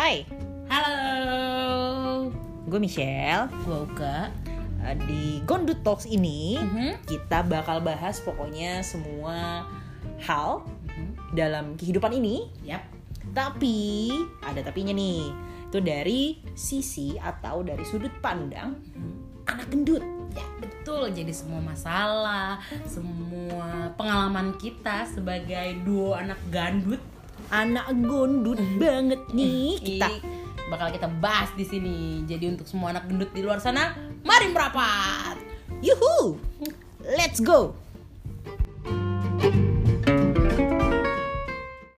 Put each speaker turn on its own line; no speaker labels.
Hai,
Halo,
gue Michelle.
gue Uga.
Eh, Di Gondut Talks ini
Mhm.
kita bakal bahas pokoknya semua hal dalam kehidupan ini.
Mm-hmm. Yap,
Tapi ada tapinya nih. Itu dari sisi atau dari sudut pandang anak gendut.
ya betul. Jadi semua masalah, semua pengalaman kita sebagai duo anak gandut
Anak gondut banget nih kita.
i- bakal kita bahas di sini. Jadi untuk semua anak gendut di luar sana, mari merapat.
Yuhu, let's go.